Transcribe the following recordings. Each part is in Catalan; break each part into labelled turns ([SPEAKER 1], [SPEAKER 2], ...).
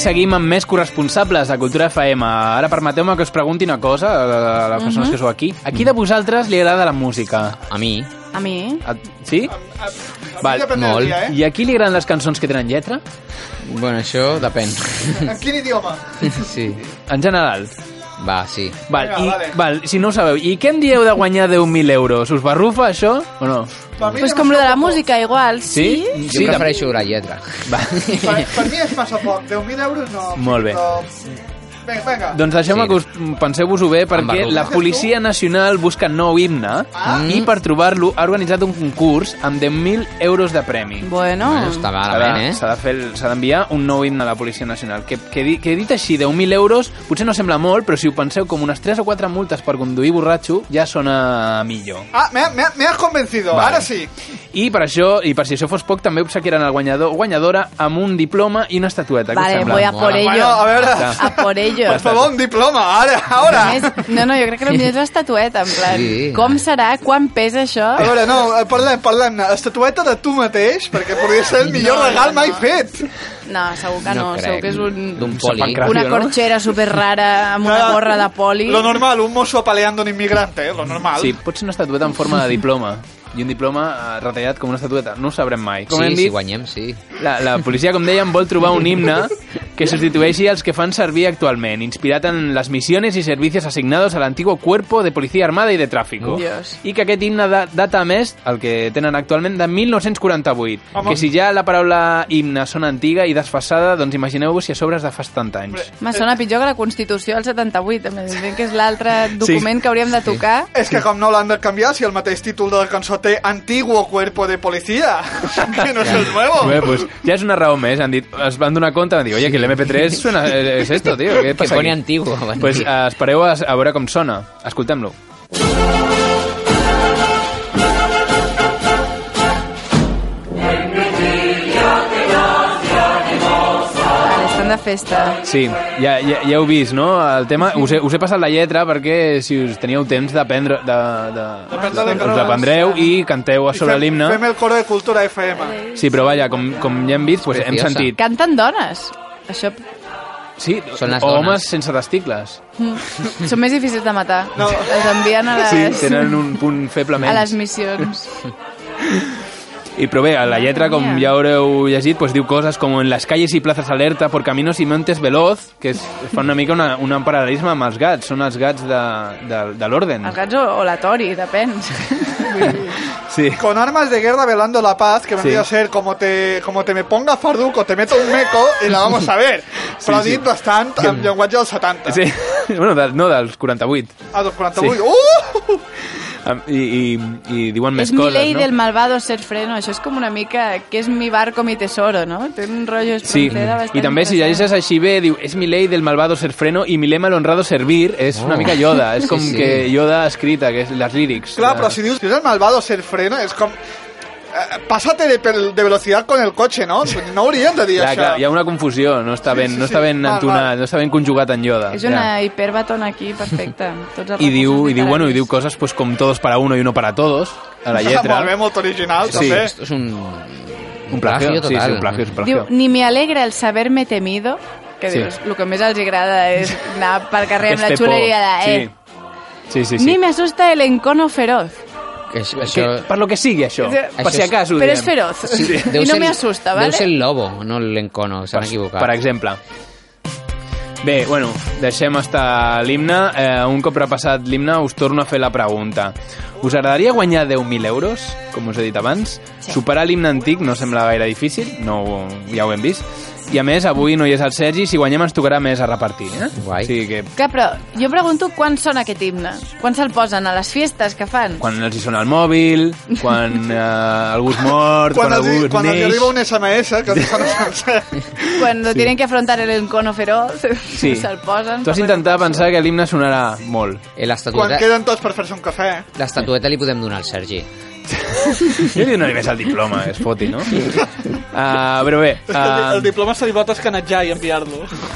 [SPEAKER 1] seguim amb més corresponsables de Cultura FM. Ara permeteu-me que us pregunti una cosa a les persones
[SPEAKER 2] Mhm.
[SPEAKER 1] que sou aquí. A qui de vosaltres li agrada la música?
[SPEAKER 2] A mi,
[SPEAKER 3] A mi?
[SPEAKER 1] A... Sí? Val,
[SPEAKER 4] Depèn
[SPEAKER 2] molt.
[SPEAKER 4] del dia, eh?
[SPEAKER 1] I a qui li agraden les cançons que tenen lletra?
[SPEAKER 2] bueno, això depèn.
[SPEAKER 4] En quin idioma?
[SPEAKER 2] sí.
[SPEAKER 1] En general.
[SPEAKER 2] Va, sí.
[SPEAKER 1] Val,
[SPEAKER 4] Vinga,
[SPEAKER 1] i,
[SPEAKER 4] vale.
[SPEAKER 1] val, si no ho sabeu, i què em dieu de guanyar 10.000 euros? Us barrufa això o no?
[SPEAKER 4] Per mi
[SPEAKER 3] Pues
[SPEAKER 4] és
[SPEAKER 3] com lo de
[SPEAKER 4] massa
[SPEAKER 3] la
[SPEAKER 4] poc.
[SPEAKER 3] música, igual, sí?
[SPEAKER 1] Sí?
[SPEAKER 2] Jo prefereixo la lletra.
[SPEAKER 1] Va.
[SPEAKER 4] Per, per mi és massa poc. 10.000 euros no.
[SPEAKER 1] Molt bé.
[SPEAKER 4] Però... Vinga, vinga.
[SPEAKER 1] Doncs deixeu-me
[SPEAKER 2] Sí.
[SPEAKER 1] que us penseu-vos-ho bé perquè
[SPEAKER 2] barruga.
[SPEAKER 1] la Policia Nacional busca nou himne
[SPEAKER 3] Ah.
[SPEAKER 1] i per trobar-lo ha organitzat un concurs amb 10.000 euros de premi.
[SPEAKER 3] Bueno,
[SPEAKER 2] Bueno, està
[SPEAKER 1] S'ha
[SPEAKER 2] malament,
[SPEAKER 1] de-
[SPEAKER 2] eh?
[SPEAKER 1] s'ha de fer el- s'ha d'enviar un nou himne a la Policia Nacional. Que, que, di- que dit així, 10.000 euros, potser no sembla molt, però si ho penseu com unes 3 o 4 multes per conduir borratxo, ja sona millor.
[SPEAKER 4] Ah, me, ha- me, ha- me has convencido.
[SPEAKER 1] Vale.
[SPEAKER 4] Ara sí.
[SPEAKER 3] Ah,
[SPEAKER 1] I per això, i per si això fos poc, també obsequiaran el guanyador o guanyadora amb un diploma i una estatueta. què us
[SPEAKER 3] vale,
[SPEAKER 1] sembla?
[SPEAKER 3] voy a por
[SPEAKER 2] Mola.
[SPEAKER 4] Bueno, a
[SPEAKER 3] ello.
[SPEAKER 4] veure...
[SPEAKER 1] Ja.
[SPEAKER 3] A por ello.
[SPEAKER 4] Per favor, un diploma, ara, ara.
[SPEAKER 3] A més, no, no, jo crec que el millor és l'estatueta, en plan,
[SPEAKER 2] Sí.
[SPEAKER 3] com serà, quan pesa això?
[SPEAKER 4] A veure, no, eh, parlem, parlem. Estatueta de tu mateix, perquè podria ser el millor
[SPEAKER 3] No, no,
[SPEAKER 4] regal mai
[SPEAKER 3] no.
[SPEAKER 4] fet.
[SPEAKER 3] No, segur que no,
[SPEAKER 2] crec.
[SPEAKER 3] segur que és un,
[SPEAKER 2] D'un poli.
[SPEAKER 1] Sepan-
[SPEAKER 3] una
[SPEAKER 1] Ràdio, no?
[SPEAKER 3] corxera super rara amb una gorra de poli.
[SPEAKER 4] Lo normal, un mosso apaleando un inmigrante, eh, lo normal.
[SPEAKER 1] Sí, pot ser una estatueta en forma de diploma. I un diploma eh, retallat com una estatueta. No ho sabrem mai. Com hem
[SPEAKER 2] Sí, si
[SPEAKER 1] dit,
[SPEAKER 2] guanyem, sí.
[SPEAKER 1] La, la policia, com dèiem, vol trobar un himne que substitueixi els que fan servir actualment, inspirat en les missiones i servicis assignados a l'antiguo cuerpo de policia armada i de tràfico.
[SPEAKER 3] Dios.
[SPEAKER 1] I que aquest himne da- data, a més, el que tenen actualment, de 1948.
[SPEAKER 4] Home.
[SPEAKER 1] Que si ja la paraula himne sona antiga i desfassada, doncs imagineu-vos si a sobre es de fa 70 anys.
[SPEAKER 3] Me sona pitjor que la Constitució del 78, també. Dicen que és l'altre document que hauríem de tocar.
[SPEAKER 4] És que com no l'han de canviar si el mateix títol de la cançó té Antiguo cuerpo de policía, que no és el nuevo.
[SPEAKER 1] Bé, pues, ja és una raó més, han dit, es van donar compte, van dir, oye, que l'MP3 suena, eh, és esto, tío, què
[SPEAKER 2] Que
[SPEAKER 1] passa
[SPEAKER 2] pone
[SPEAKER 1] aquí?
[SPEAKER 2] antiguo.
[SPEAKER 1] Pues eh, espereu a, a veure com sona. Escoltem-lo.
[SPEAKER 3] Vale, estan de festa.
[SPEAKER 1] Sí, ja, ja, ja heu vist, no? El tema, us he, us he passat la lletra perquè si us teníeu temps d'aprendre... De, de,
[SPEAKER 4] D'aprendre de
[SPEAKER 1] us
[SPEAKER 4] cor.
[SPEAKER 1] l'aprendreu i canteu a sobre
[SPEAKER 4] Fem- Fem
[SPEAKER 1] l'himne.
[SPEAKER 4] el coro de Cultura FM.
[SPEAKER 1] Sí, però vaja, com, com ja hem vist, pues, hem
[SPEAKER 2] Preciosa.
[SPEAKER 1] sentit...
[SPEAKER 3] Canten dones. Això
[SPEAKER 1] Sí,
[SPEAKER 2] Són les
[SPEAKER 1] o
[SPEAKER 2] dones.
[SPEAKER 1] homes sense testicles.
[SPEAKER 3] són més difícils de matar.
[SPEAKER 4] No.
[SPEAKER 3] Els envien a les,
[SPEAKER 1] Sí, tenen un punt feble
[SPEAKER 3] a les
[SPEAKER 1] menys.
[SPEAKER 3] missions.
[SPEAKER 1] I però bé, a la lletra, com
[SPEAKER 3] mía.
[SPEAKER 1] ja haureu llegit, pues, diu coses com en les calles i places alerta, por caminos i montes veloz, que es, fa una mica una, un paral·lelisme amb els gats, són els gats de, de, de l'orden.
[SPEAKER 3] Els gats o, o la Tori, depèn.
[SPEAKER 1] Sí.
[SPEAKER 4] Con armas de guerra velando la paz, que vendría a
[SPEAKER 1] Sí.
[SPEAKER 4] ser como te, como te me ponga farduco, te meto un meco y la vamos a ver. Però ha
[SPEAKER 1] sí.
[SPEAKER 4] dit bastant amb llenguatge dels 70.
[SPEAKER 1] Sí, bueno, de, no, dels 48.
[SPEAKER 4] A dos 48.
[SPEAKER 1] Sí.
[SPEAKER 4] Uh!
[SPEAKER 1] Am- I, i, i diuen més
[SPEAKER 3] és mi
[SPEAKER 1] coses,
[SPEAKER 3] ley
[SPEAKER 1] no?
[SPEAKER 3] del malvado ser freno. Això és com una mica que és mi barco, mi tesoro, no? Té un rotllo
[SPEAKER 1] Sí,
[SPEAKER 3] espronceda bastant
[SPEAKER 1] i també si llegeixes
[SPEAKER 3] interessant.
[SPEAKER 1] així bé, diu, és mi ley del malvado ser freno i mi lema el honrado servir, és
[SPEAKER 4] Oh.
[SPEAKER 1] una mica Yoda, és com
[SPEAKER 2] Sí, sí.
[SPEAKER 1] que Yoda escrita, que és les lírics.
[SPEAKER 4] Clar,
[SPEAKER 1] La-
[SPEAKER 4] però si dius que és el malvado ser freno, és com... Eh, pásate de, pel- de velocitat con el cotxe, no? No hauríem de dir
[SPEAKER 1] Clar,
[SPEAKER 4] això.
[SPEAKER 1] clar, hi ha una confusió, no està
[SPEAKER 4] Sí,
[SPEAKER 1] ben,
[SPEAKER 4] sí,
[SPEAKER 1] no
[SPEAKER 4] sí.
[SPEAKER 1] està ben
[SPEAKER 4] Val,
[SPEAKER 1] entonat,
[SPEAKER 4] val.
[SPEAKER 1] no està ben conjugat en Yoda.
[SPEAKER 3] És una hiperbatona aquí, perfecta. Tots els
[SPEAKER 1] I diu,
[SPEAKER 3] recursos
[SPEAKER 1] i diu, bueno, i diu
[SPEAKER 3] literaris.
[SPEAKER 1] coses pues, com todos para uno i uno para todos, a la lletra.
[SPEAKER 4] Molt bé, molt original,
[SPEAKER 1] Sí.
[SPEAKER 4] sí. també.
[SPEAKER 2] Esto es un...
[SPEAKER 1] eh, un plagio, sí,
[SPEAKER 2] total.
[SPEAKER 1] sí, un plagio, és un plagio.
[SPEAKER 3] Diu, ni me alegra el saber-me temido, que
[SPEAKER 1] Sí.
[SPEAKER 3] dius, el que més els agrada és anar pel carrer amb la
[SPEAKER 1] Aquesta
[SPEAKER 3] xuleria de...
[SPEAKER 1] por.
[SPEAKER 3] Eh,
[SPEAKER 1] Este Sí, sí, sí.
[SPEAKER 3] Ni
[SPEAKER 1] sí.
[SPEAKER 3] me asusta el encono feroz.
[SPEAKER 2] Que això...
[SPEAKER 1] Que, per lo que sigui, això.
[SPEAKER 3] Això
[SPEAKER 1] Per si
[SPEAKER 2] és-
[SPEAKER 1] acaso. ho
[SPEAKER 3] Però és
[SPEAKER 1] diem.
[SPEAKER 3] feroz.
[SPEAKER 2] Sí, deu
[SPEAKER 3] I no
[SPEAKER 2] ser-
[SPEAKER 3] me asusta,
[SPEAKER 2] Deu ser
[SPEAKER 3] ¿vale?
[SPEAKER 2] el lobo, no l'encono, s'han equivocat.
[SPEAKER 1] Per exemple. Bé, bueno, deixem estar l'himne. Eh, un cop repassat l'himne, us torno a fer la pregunta. Us agradaria guanyar 10.000 euros, com us he dit abans?
[SPEAKER 3] Sí.
[SPEAKER 1] Superar l'himne antic no sembla gaire difícil, no, ja ho hem vist. I a més, avui no hi és el Sergi, si guanyem ens tocarà més a repartir. Eh?
[SPEAKER 2] Guai.
[SPEAKER 1] O sigui que
[SPEAKER 3] Clar, però jo pregunto quan sona aquest himne. Quan se'l posen a les fiestes que fan?
[SPEAKER 1] quan els hi sona el mòbil, quan eh, algú és mort, quan,
[SPEAKER 4] Quan, els,
[SPEAKER 1] algú
[SPEAKER 4] hi- quan els hi
[SPEAKER 1] neix...
[SPEAKER 4] arriba un SMS, que els hi fan un sencer.
[SPEAKER 3] Cuando tienen que afrontar el encono feroz,
[SPEAKER 1] Sí.
[SPEAKER 3] se'l posen...
[SPEAKER 1] Tu has intentat pensar que l'himne sonarà molt.
[SPEAKER 2] Eh,
[SPEAKER 4] quan
[SPEAKER 2] L'estatueta
[SPEAKER 4] queden tots per fer-se un cafè.
[SPEAKER 1] Ah.
[SPEAKER 2] l'estatueta li podem donar al Sergi.
[SPEAKER 1] Jo li donaré més el diploma, es foti, no? Uh, però bé,
[SPEAKER 4] És que el, di- el
[SPEAKER 1] uh,
[SPEAKER 4] diploma se li pot escanatjar i enviar-lo.
[SPEAKER 1] ah,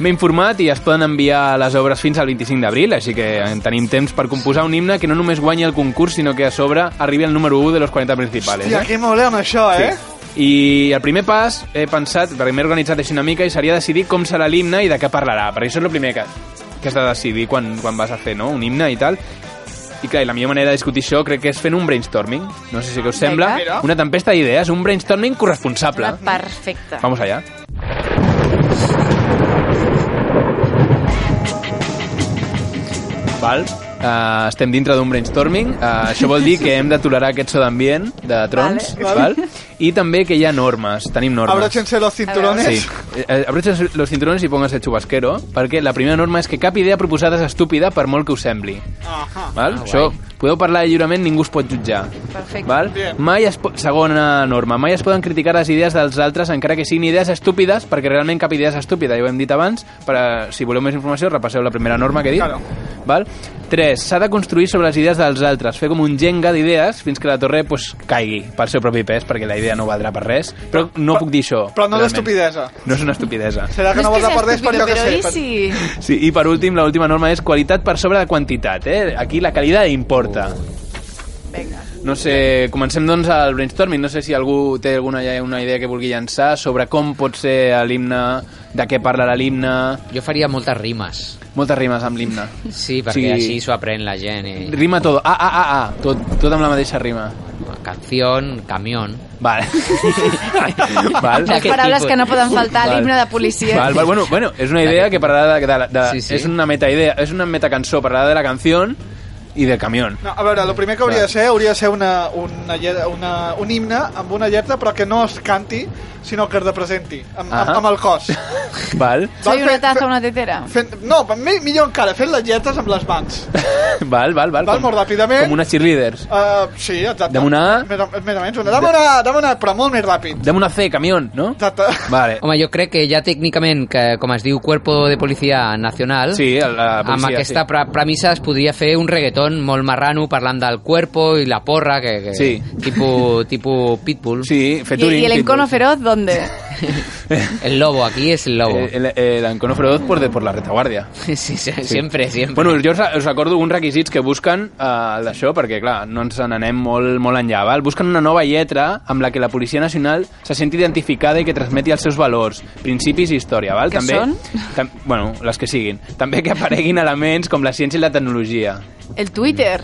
[SPEAKER 1] M'he informat i es poden enviar les obres fins al 25 d'abril, així que en tenim temps per composar un himne que no només guanyi el concurs, sinó que a sobre arribi al número 1 de los 40 principales.
[SPEAKER 4] Hòstia,
[SPEAKER 1] eh?
[SPEAKER 4] que modern això, eh?
[SPEAKER 1] I el primer pas, he pensat, perquè m'he organitzat així una mica, i seria decidir com serà l'himne i de què parlarà, perquè això és el primer que, que has de decidir quan, quan vas a fer no? un himne i tal. I clar, i la millor manera de discutir això crec que és fent un brainstorming. No sé si què us sembla.
[SPEAKER 3] Vinga.
[SPEAKER 1] Una tempesta d'idees, un brainstorming corresponsable.
[SPEAKER 3] Perfecte.
[SPEAKER 1] Vamos allá. Val. Uh, estem dintre d'un brainstorming. Uh, això vol dir que hem de tolerar aquest so d'ambient de trons.
[SPEAKER 4] Vale.
[SPEAKER 1] Val. I també que hi ha normes. Tenim normes.
[SPEAKER 4] Abróchense los cinturones.
[SPEAKER 1] Sí. Eh, eh, Abróchense los cinturones i pónganse chubasquero, perquè la primera norma és que cap idea proposada és estúpida per molt que us sembli.
[SPEAKER 4] Ajá.
[SPEAKER 1] Val?
[SPEAKER 2] Ah,
[SPEAKER 1] Això, podeu parlar lliurement, ningú us pot jutjar.
[SPEAKER 3] Perfecte.
[SPEAKER 1] Val?
[SPEAKER 4] Bien.
[SPEAKER 1] Mai es po- segona norma, mai es poden criticar les idees dels altres encara que siguin idees estúpides, perquè realment cap idea és estúpida, ja ho hem dit abans, per, a- si voleu més informació repasseu la primera norma que he dit.
[SPEAKER 4] Claro.
[SPEAKER 1] Val? 3. S'ha de construir sobre les idees dels altres, fer com un jenga d'idees fins que la torre pues, caigui pel seu propi pes, perquè la idea no valdrà per res, però no puc dir això.
[SPEAKER 4] Però no
[SPEAKER 1] realment.
[SPEAKER 4] d'estupidesa.
[SPEAKER 1] No és una estupidesa.
[SPEAKER 4] Serà que no, vols
[SPEAKER 3] és que
[SPEAKER 4] apart
[SPEAKER 3] sigui
[SPEAKER 4] d'ells per jo que sé.
[SPEAKER 3] però
[SPEAKER 4] per-
[SPEAKER 3] i si...
[SPEAKER 1] Sí, i per últim, la última norma és qualitat per sobre de quantitat, eh? Aquí la qualitat importa.
[SPEAKER 3] Vinga.
[SPEAKER 1] No sé, comencem doncs al brainstorming. No sé si algú té alguna una idea que vulgui llançar sobre com pot ser l'himne, de què parla l'himne...
[SPEAKER 2] Jo faria moltes rimes.
[SPEAKER 1] Moltes rimes amb l'himne.
[SPEAKER 2] Sí, perquè
[SPEAKER 1] Sí.
[SPEAKER 2] així s'ho aprèn la gent. eh. I...
[SPEAKER 1] Rima todo. Ah, ah, ah, ah. Tot, tot amb la mateixa rima.
[SPEAKER 2] Canción, camión...
[SPEAKER 1] Vale. Val.
[SPEAKER 2] Ja
[SPEAKER 3] Les
[SPEAKER 2] Aquest
[SPEAKER 3] paraules
[SPEAKER 2] tipus.
[SPEAKER 3] que no poden faltar a l'himne de policia.
[SPEAKER 1] Val, val. Bueno, bueno, és una idea que parlarà de... de, de
[SPEAKER 2] Sí, sí.
[SPEAKER 1] És una metaidea, és una metacançó, parlarà de la canció i del camión.
[SPEAKER 4] No, a veure, el primer que hauria de
[SPEAKER 1] Clar.
[SPEAKER 4] ser hauria de ser una, una, lle- una, un himne amb una lletra però que no es canti, sinó que es representi, amb, amb,
[SPEAKER 1] Ahà.
[SPEAKER 4] amb el cos.
[SPEAKER 1] Val.
[SPEAKER 3] Soy
[SPEAKER 4] Val,
[SPEAKER 3] una
[SPEAKER 4] fe- fe-
[SPEAKER 3] taza, una tetera.
[SPEAKER 4] Fent, no, mi- millor encara, fent les lletres amb les mans.
[SPEAKER 1] Val, val, val.
[SPEAKER 4] Val,
[SPEAKER 1] com-
[SPEAKER 4] molt ràpidament.
[SPEAKER 1] Com una cheerleaders.
[SPEAKER 4] Uh, sí, exacte.
[SPEAKER 1] Dame una A.
[SPEAKER 4] Més, o- més o menys una. Dame una, dame una, però molt més ràpid.
[SPEAKER 1] Dame una C, camión, no?
[SPEAKER 4] Exacte.
[SPEAKER 1] Vale.
[SPEAKER 2] Home, jo crec que ja tècnicament, que, com es diu Cuerpo de Policia Nacional,
[SPEAKER 1] Sí, la, la policia,
[SPEAKER 2] amb aquesta pre premissa es podria fer un reggaeton molt marrano parlant del cuerpo i la porra, que, que
[SPEAKER 1] Sí.
[SPEAKER 2] tipus, tipus Pitbull.
[SPEAKER 1] Sí, sí
[SPEAKER 3] ¿Y,
[SPEAKER 1] Feturing.
[SPEAKER 3] y el
[SPEAKER 1] tipo.
[SPEAKER 3] encono feroz dónde?
[SPEAKER 2] El lobo, aquí és el lobo.
[SPEAKER 1] Eh, El, el encono feroz por, de, por la retaguardia.
[SPEAKER 2] sí, sí, sempre, sempre.
[SPEAKER 1] Bueno, jo us, us recordo uns requisits que busquen eh, el d'això, perquè, clar, no ens n'anem molt, molt enllà, val? Busquen una nova lletra amb la que la Policia Nacional se senti identificada i que transmeti els seus valors, principis i història, val?
[SPEAKER 3] Que són?
[SPEAKER 1] Tam, bueno, les que siguin. També que apareguin elements com la ciència i la tecnologia.
[SPEAKER 3] El Twitter.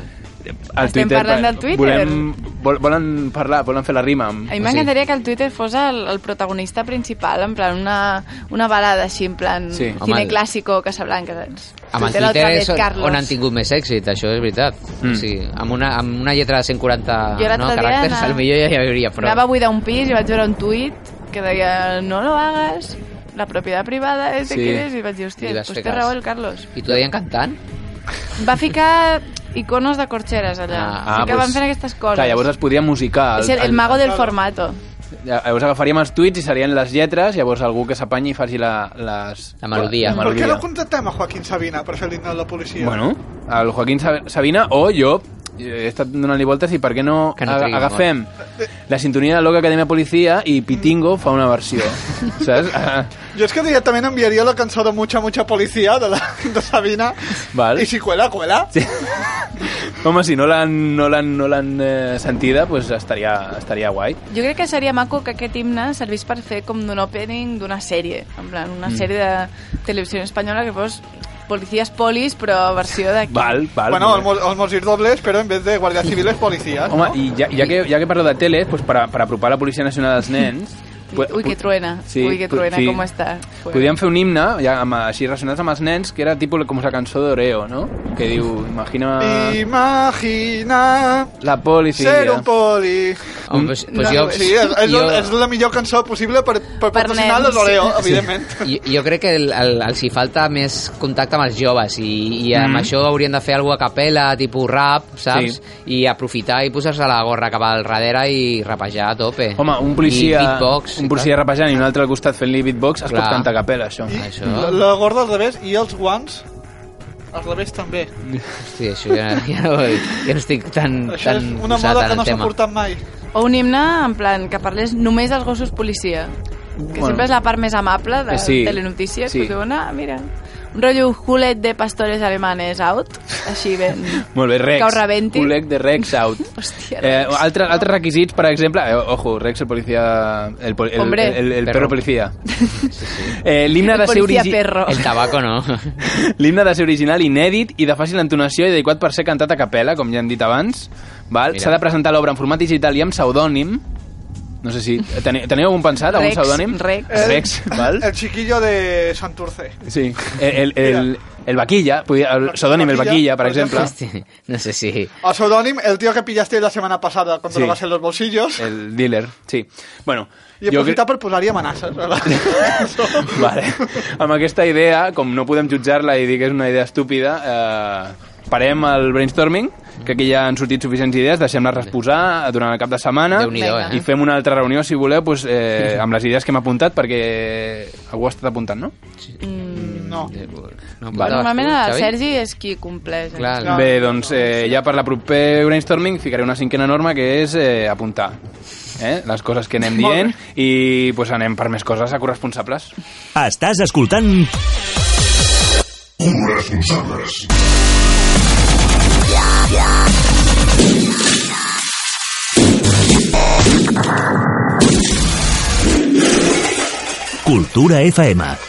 [SPEAKER 1] El
[SPEAKER 3] Estem parlant del Twitter.
[SPEAKER 1] Volem, vol, volen parlar, volen fer la rima. Amb...
[SPEAKER 3] A mi
[SPEAKER 2] Sí.
[SPEAKER 3] m'encantaria que el Twitter fos el, el protagonista principal, en plan una, una balada així, en plan
[SPEAKER 1] Sí.
[SPEAKER 3] sí.
[SPEAKER 2] Home,
[SPEAKER 3] cine
[SPEAKER 2] el-
[SPEAKER 3] clàssico, Casablanca.
[SPEAKER 2] amb el
[SPEAKER 3] Twitter otra
[SPEAKER 2] Twitter
[SPEAKER 3] vez,
[SPEAKER 2] és on-
[SPEAKER 3] Carlos.
[SPEAKER 2] on han tingut més èxit, això és veritat.
[SPEAKER 1] Mm.
[SPEAKER 2] Mm. Sí, amb, una, amb una lletra de 140
[SPEAKER 3] Jo l'altre
[SPEAKER 2] no,
[SPEAKER 3] dia
[SPEAKER 2] caràcters,
[SPEAKER 3] anava-
[SPEAKER 2] anava... potser ja hi hauria prou.
[SPEAKER 3] Anava a buidar un pis i vaig veure un tuit que deia no lo hagas, la propietat privada és de
[SPEAKER 1] Sí.
[SPEAKER 3] qui és, i vaig dir,
[SPEAKER 2] I
[SPEAKER 3] hòstia,
[SPEAKER 2] vas
[SPEAKER 3] pues
[SPEAKER 2] fer
[SPEAKER 3] té
[SPEAKER 2] cas.
[SPEAKER 3] raó el Carlos.
[SPEAKER 2] I t'ho deien cantant?
[SPEAKER 3] Va ficar iconos de corxeres allà.
[SPEAKER 2] Ah,
[SPEAKER 3] Ah, que van fent aquestes coses.
[SPEAKER 1] Clar, llavors es podria musicar.
[SPEAKER 3] és el, el mago del formato.
[SPEAKER 1] Llavors agafaríem els tuits i serien les lletres, llavors algú que s'apanyi i faci la, les...
[SPEAKER 2] La melodia.
[SPEAKER 1] La
[SPEAKER 4] Per què
[SPEAKER 1] melodia.
[SPEAKER 4] no contractem a Joaquín Sabina per fer l'himne de la policia?
[SPEAKER 1] Bueno, el Joaquín Sa- Sabina o jo eh, he estat donant-li voltes i per què no,
[SPEAKER 2] Que no
[SPEAKER 1] aga-
[SPEAKER 2] trigui
[SPEAKER 1] agafem la sintonia de Loca Academia Policia i Pitingo fa una versió, saps? Ah,
[SPEAKER 4] Jo és que directament enviaria la cançó de Mucha Mucha Policia de, la, de Sabina.
[SPEAKER 1] Val.
[SPEAKER 4] I si cuela, cuela.
[SPEAKER 1] Sí. Home, si no l'han no l'han- no l'han, eh, sentida, pues estaria, estaria guai.
[SPEAKER 3] Jo crec que seria maco que aquest himne servís per fer com d'un opening d'una sèrie, en plan, una mm. sèrie de televisió espanyola que fos policies polis, però versió d'aquí.
[SPEAKER 1] Val, val.
[SPEAKER 4] Bueno,
[SPEAKER 1] molt
[SPEAKER 4] els,
[SPEAKER 1] bé.
[SPEAKER 4] mos- els mosir dobles, però en vez de guàrdia civil és policia.
[SPEAKER 1] Ah, Home, i ja, ja, que, ja que parlo de tele, pues, per, a- per apropar la Policia Nacional als nens...
[SPEAKER 3] Ui, ui, que truena.
[SPEAKER 1] Sí,
[SPEAKER 3] Ui, que
[SPEAKER 1] pu-
[SPEAKER 3] truena,
[SPEAKER 1] sí.
[SPEAKER 3] com està. Bueno.
[SPEAKER 1] Podríem fer un himne, ja, amb, així relacionats amb els nens, que era tipus com la cançó d'Oreo, no? Que diu, imagina
[SPEAKER 2] ah.
[SPEAKER 4] Imagina
[SPEAKER 1] la policia.
[SPEAKER 4] ser un poli.
[SPEAKER 2] Home, pues, pues
[SPEAKER 1] Mm.
[SPEAKER 3] No,
[SPEAKER 2] jo,
[SPEAKER 4] Sí, és, és,
[SPEAKER 2] jo,
[SPEAKER 4] és la millor cançó possible per, per,
[SPEAKER 3] Per
[SPEAKER 4] patrocinar
[SPEAKER 3] nens,
[SPEAKER 4] les Oreo,
[SPEAKER 3] sí.
[SPEAKER 4] evidentment.
[SPEAKER 2] jo, jo crec que el, el, els hi falta més contacte amb els joves i, i amb
[SPEAKER 1] Mhm.
[SPEAKER 2] mm. això haurien de fer alguna a capella, tipus rap, saps? Sí. I aprofitar i posar-se la gorra cap al darrere i rapejar a tope.
[SPEAKER 1] Home, un policia,
[SPEAKER 2] I beatbox.
[SPEAKER 1] un policia rapejant i un altre al costat fent-li beatbox, es
[SPEAKER 2] Clar.
[SPEAKER 1] pot cantar a capella, això.
[SPEAKER 4] I
[SPEAKER 2] Això.
[SPEAKER 4] la, la gorda al revés i els guants al revés també.
[SPEAKER 2] Sí, això ja, ja, no, ja no estic tan,
[SPEAKER 4] Això
[SPEAKER 2] Mm, tan
[SPEAKER 4] és una
[SPEAKER 2] posat
[SPEAKER 4] moda
[SPEAKER 2] en
[SPEAKER 4] que
[SPEAKER 2] el
[SPEAKER 4] no s'ha
[SPEAKER 2] tema.
[SPEAKER 4] portat mai.
[SPEAKER 3] O un himne, en plan, que parlés només dels gossos policia. que sempre és la part més amable de
[SPEAKER 1] Eh, Sí,
[SPEAKER 3] sí, Telenotícies,
[SPEAKER 1] sí.
[SPEAKER 3] sí. que diuen, ah, mira, un rotllo culet de pastores alemanes out, així ben...
[SPEAKER 1] Molt bé, Rex.
[SPEAKER 3] Que ho rebenti.
[SPEAKER 1] Col·lec de Rex out.
[SPEAKER 3] Hòstia,
[SPEAKER 1] Eh,
[SPEAKER 3] Rex.
[SPEAKER 1] altre, altres requisits, per exemple... Eh, ojo, Rex, el policia... El, pol- el,
[SPEAKER 3] Hombre.
[SPEAKER 1] el, el, el
[SPEAKER 2] Perro.
[SPEAKER 1] perro policia. Eh, L'himne ha de
[SPEAKER 3] El
[SPEAKER 1] ser
[SPEAKER 3] policia
[SPEAKER 1] origi...
[SPEAKER 3] perro.
[SPEAKER 2] El tabaco no.
[SPEAKER 1] L'himne ha de ser original, inèdit i de fàcil entonació i adequat per ser cantat a capella, com ja hem dit abans. Val?
[SPEAKER 2] Mira.
[SPEAKER 1] S'ha de presentar l'obra en format digital i amb pseudònim. No sé si... Teniu, teniu algun pensat, algun
[SPEAKER 3] Rex,
[SPEAKER 1] pseudònim? Eh,
[SPEAKER 3] Rex.
[SPEAKER 1] Rex, val?
[SPEAKER 4] El chiquillo de Santurce.
[SPEAKER 1] Sí. El, el, el, el vaquilla, podria- el pseudònim, el vaquilla, per exemple.
[SPEAKER 2] Hosti, no sé si...
[SPEAKER 4] O pseudónim, el tío que pillaste la semana pasada con
[SPEAKER 1] Sí. Eh,
[SPEAKER 4] drogas en los bolsillos.
[SPEAKER 1] El dealer, sí. Bueno,
[SPEAKER 4] Y
[SPEAKER 1] jo crec-
[SPEAKER 4] aprofitar per posar-hi amenaces, ¿verdad?
[SPEAKER 1] vale. Amb aquesta idea, com no podem jutjar-la i dir que és una idea estúpida, eh, parem el brainstorming, que aquí ja han sortit suficients idees, deixem-les reposar durant el cap de setmana
[SPEAKER 2] Déu-n'hi-do,
[SPEAKER 3] Vinga.
[SPEAKER 1] i
[SPEAKER 2] eh?
[SPEAKER 1] fem una altra reunió, si voleu, doncs, eh, amb les idees que hem apuntat, perquè algú ha estat apuntant, no?
[SPEAKER 4] No.
[SPEAKER 2] No,
[SPEAKER 1] Vale.
[SPEAKER 3] Normalment
[SPEAKER 2] apuntaves tu,
[SPEAKER 3] el
[SPEAKER 2] Xavi?
[SPEAKER 3] Sergi és qui compleix.
[SPEAKER 2] Clar,
[SPEAKER 3] Clar.
[SPEAKER 2] no.
[SPEAKER 1] Bé, doncs eh, ja per la proper brainstorming ficaré una cinquena norma que és eh, apuntar eh, les coses que anem dient i pues, anem per més coses a corresponsables.
[SPEAKER 5] Estàs escoltant
[SPEAKER 6] Corresponsables.
[SPEAKER 5] Cultura FM.